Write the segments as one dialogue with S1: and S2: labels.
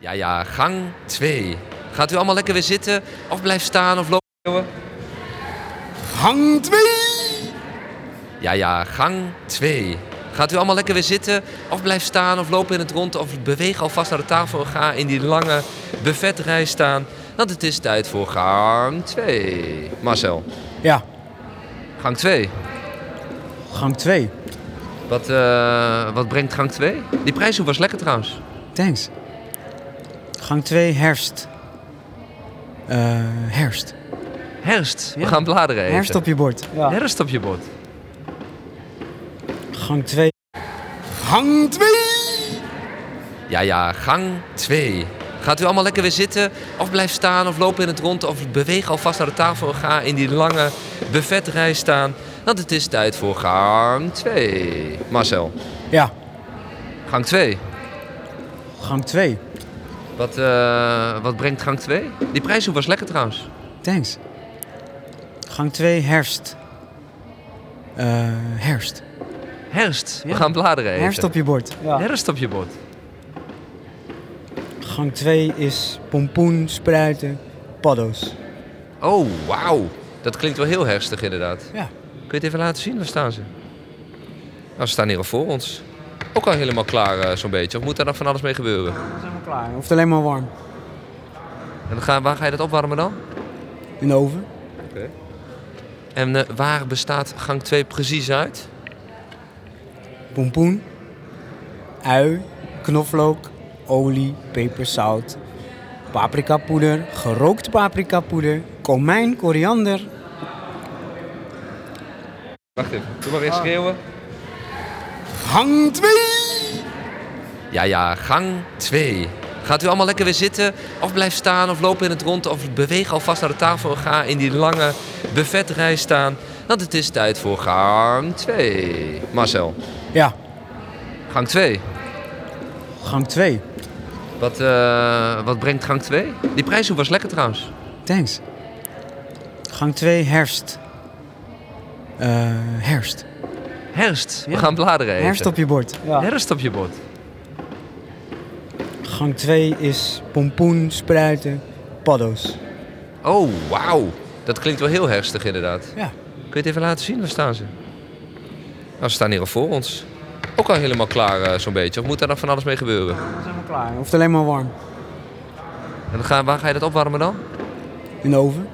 S1: Ja, ja, gang 2. Gaat u allemaal lekker weer zitten? Of blijf staan of lopen?
S2: Gang 2!
S1: Ja, ja, gang 2. Gaat u allemaal lekker weer zitten? Of blijf staan of lopen in het rond? Of beweeg alvast naar de tafel en ga in die lange buffetrij staan? Want het is tijd voor gang 2. Marcel,
S2: Ja,
S1: gang 2.
S2: gang 2.
S1: Wat, eh, wat brengt gang 2? Die prijshoek was lekker trouwens.
S2: Thanks. Gang 2, herfst. Eh, herfst.
S1: Herfst. We
S2: Ja.
S1: gaan bladeren eten.
S2: Herfst op je bord. Ja.
S1: Herfst op je bord.
S2: Gang 2. Gang 2!
S1: Ja, ja, gang 2. Gaat u allemaal lekker weer zitten? Of blijf staan of lopen in het rond? Of beweeg alvast naar de tafel en ga in die lange buffetrij staan? Want het is tijd voor gang 2. Marcel,
S2: Ja,
S1: gang 2.
S2: gang 2.
S1: Wat, eh, wat brengt gang 2? Die prijshoek was lekker trouwens.
S2: Thanks. Gang 2, herfst. Eh, herfst.
S1: Herfst. We
S2: Ja.
S1: gaan bladeren eten.
S2: Herfst op je bord.
S1: Herfst op je bord.
S2: Gang 2 is pompoen, spruiten, paddo's.
S1: Oh, wauw. Dat klinkt wel heel herfstig inderdaad.
S2: Ja.
S1: Kun je het even laten zien? Waar staan ze? Nou, ze staan hier al voor ons. Ook al helemaal klaar eh, zo'n beetje. Of moet daar nog van alles mee gebeuren?
S2: Dan zijn we klaar. Hoeft alleen maar warm.
S1: En dan ga, waar ga je dat opwarmen dan?
S2: In de oven.
S1: En eh, waar bestaat gang 2 precies uit?
S2: pompoen, ui, knoflook, olie, peper, zout, paprikapoeder, gerookt paprikapoeder, komijn, koriander,
S1: Wacht even, doe maar eens
S2: Ah.
S1: schreeuwen.
S2: gang 2!
S1: Ja, ja, gang 2. Gaat u allemaal lekker weer zitten? Of blijf staan of lopen in het rond? Of beweeg alvast naar de tafel en ga in die lange buffetrij staan? Want het is tijd voor gang 2. Marcel,
S2: Ja,
S1: gang 2.
S2: gang 2.
S1: Wat, eh, wat brengt gang 2? Die prijshoek was lekker trouwens.
S2: Thanks. Gang 2, herfst. Eh, herfst.
S1: Herfst, we
S2: Ja.
S1: gaan bladeren eten.
S2: Herfst op je bord.
S1: Herfst op je bord.
S2: Gang 2 is pompoen, spruiten, paddo's.
S1: Oh, wauw. Dat klinkt wel heel herfstig inderdaad.
S2: Ja.
S1: Kun je het even laten zien? Waar staan ze? Nou, ze staan hier al voor ons. Ook al helemaal klaar eh, zo'n beetje. Of moet daar nog van alles mee gebeuren?
S2: Dan zijn we klaar. Hoeft alleen maar warm.
S1: En dan ga, waar ga je dat opwarmen dan?
S2: In de oven.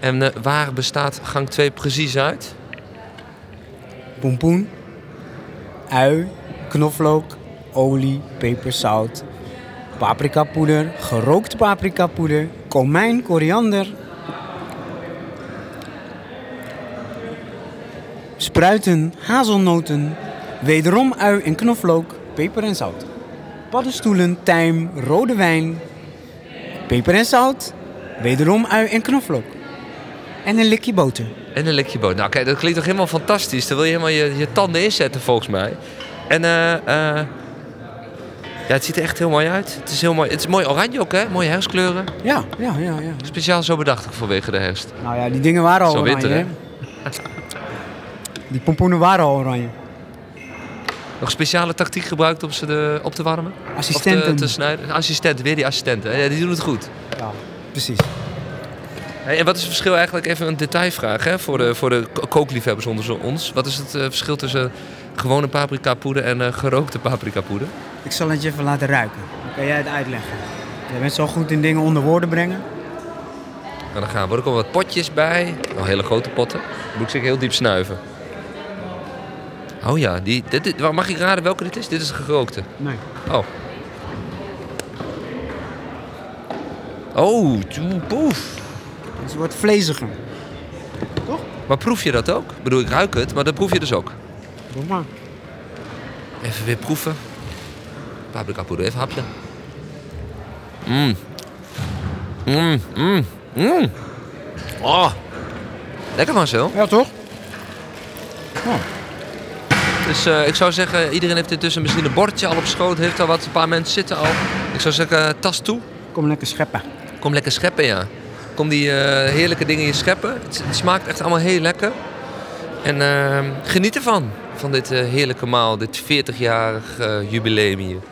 S1: En eh, waar bestaat gang 2 precies uit?
S2: pompoen, ui, knoflook, olie, peper, zout, paprikapoeder, gerookt paprikapoeder, komijn, koriander, spruiten, hazelnoten, wederom ui en knoflook, peper en zout, paddenstoelen, tijm, rode wijn, peper en zout, wederom ui en knoflook en een likje boter.
S1: En een likje boter. Nou kijk, dat klinkt toch helemaal fantastisch. Daar wil je helemaal je, je tanden inzetten volgens mij. En eh, eh, ja, het ziet er echt heel mooi uit. Het is heel mooi. Het is mooi oranje ook hè? Mooie herfstkleuren.
S2: Ja, ja, ja, ja.
S1: Speciaal zo bedacht ik vanwege de herfst.
S2: Nou ja, die dingen waren al
S1: Zo
S2: oranje.
S1: witter,
S2: hè?
S1: hè?
S2: Die pompoenen waren al oranje.
S1: Nog speciale tactiek gebruikt om ze de, op te warmen? Of
S2: Assistenten.
S1: te, te snijden? Assistenten, weer die assistenten. Ja, die doen het goed.
S2: Ja, precies.
S1: Hey, en wat is het verschil eigenlijk, even een detailvraag hè, voor de, voor de ko- kookliefhebbers onder ons. Wat is het eh, verschil tussen gewone paprika poeder en eh, gerookte paprika poeder?
S2: Ik zal het je even laten ruiken. Dan Kan jij het uitleggen? Jij bent zo goed in dingen onder woorden brengen.
S1: Nou, dan gaan we. Er komen wat potjes bij. Nou, hele grote potten. Dan moet ik zeker heel diep snuiven. Oh ja, die, dit, dit- mag ik raden welke dit is? Dit is de gerookte.
S2: Nee.
S1: Oh. Oh, toe, poef.
S2: Dus het wordt vleesiger.
S1: Maar proef je dat ook? Ik bedoel, ik ruik het, maar dat proef je dus ook.
S2: Doe maar.
S1: Even weer proeven. Paprika poeder, even een hapje. Mmm. Mmm, mmm, mmm. Oh. Lekker Marcel.
S2: Ja, toch?
S1: Dus eh, ik zou zeggen, iedereen heeft intussen misschien een bordje al op schoot. Heeft al wat, een paar mensen zitten al. Ik zou zeggen, tas toe.
S2: Kom lekker scheppen.
S1: Kom lekker scheppen, ja. Kom die eh, heerlijke dingen hier scheppen. Het, het smaakt echt allemaal heel lekker. En ehm, eh, geniet ervan, van dit eh, heerlijke maal. Dit 40-jarig eh, jubileum hier.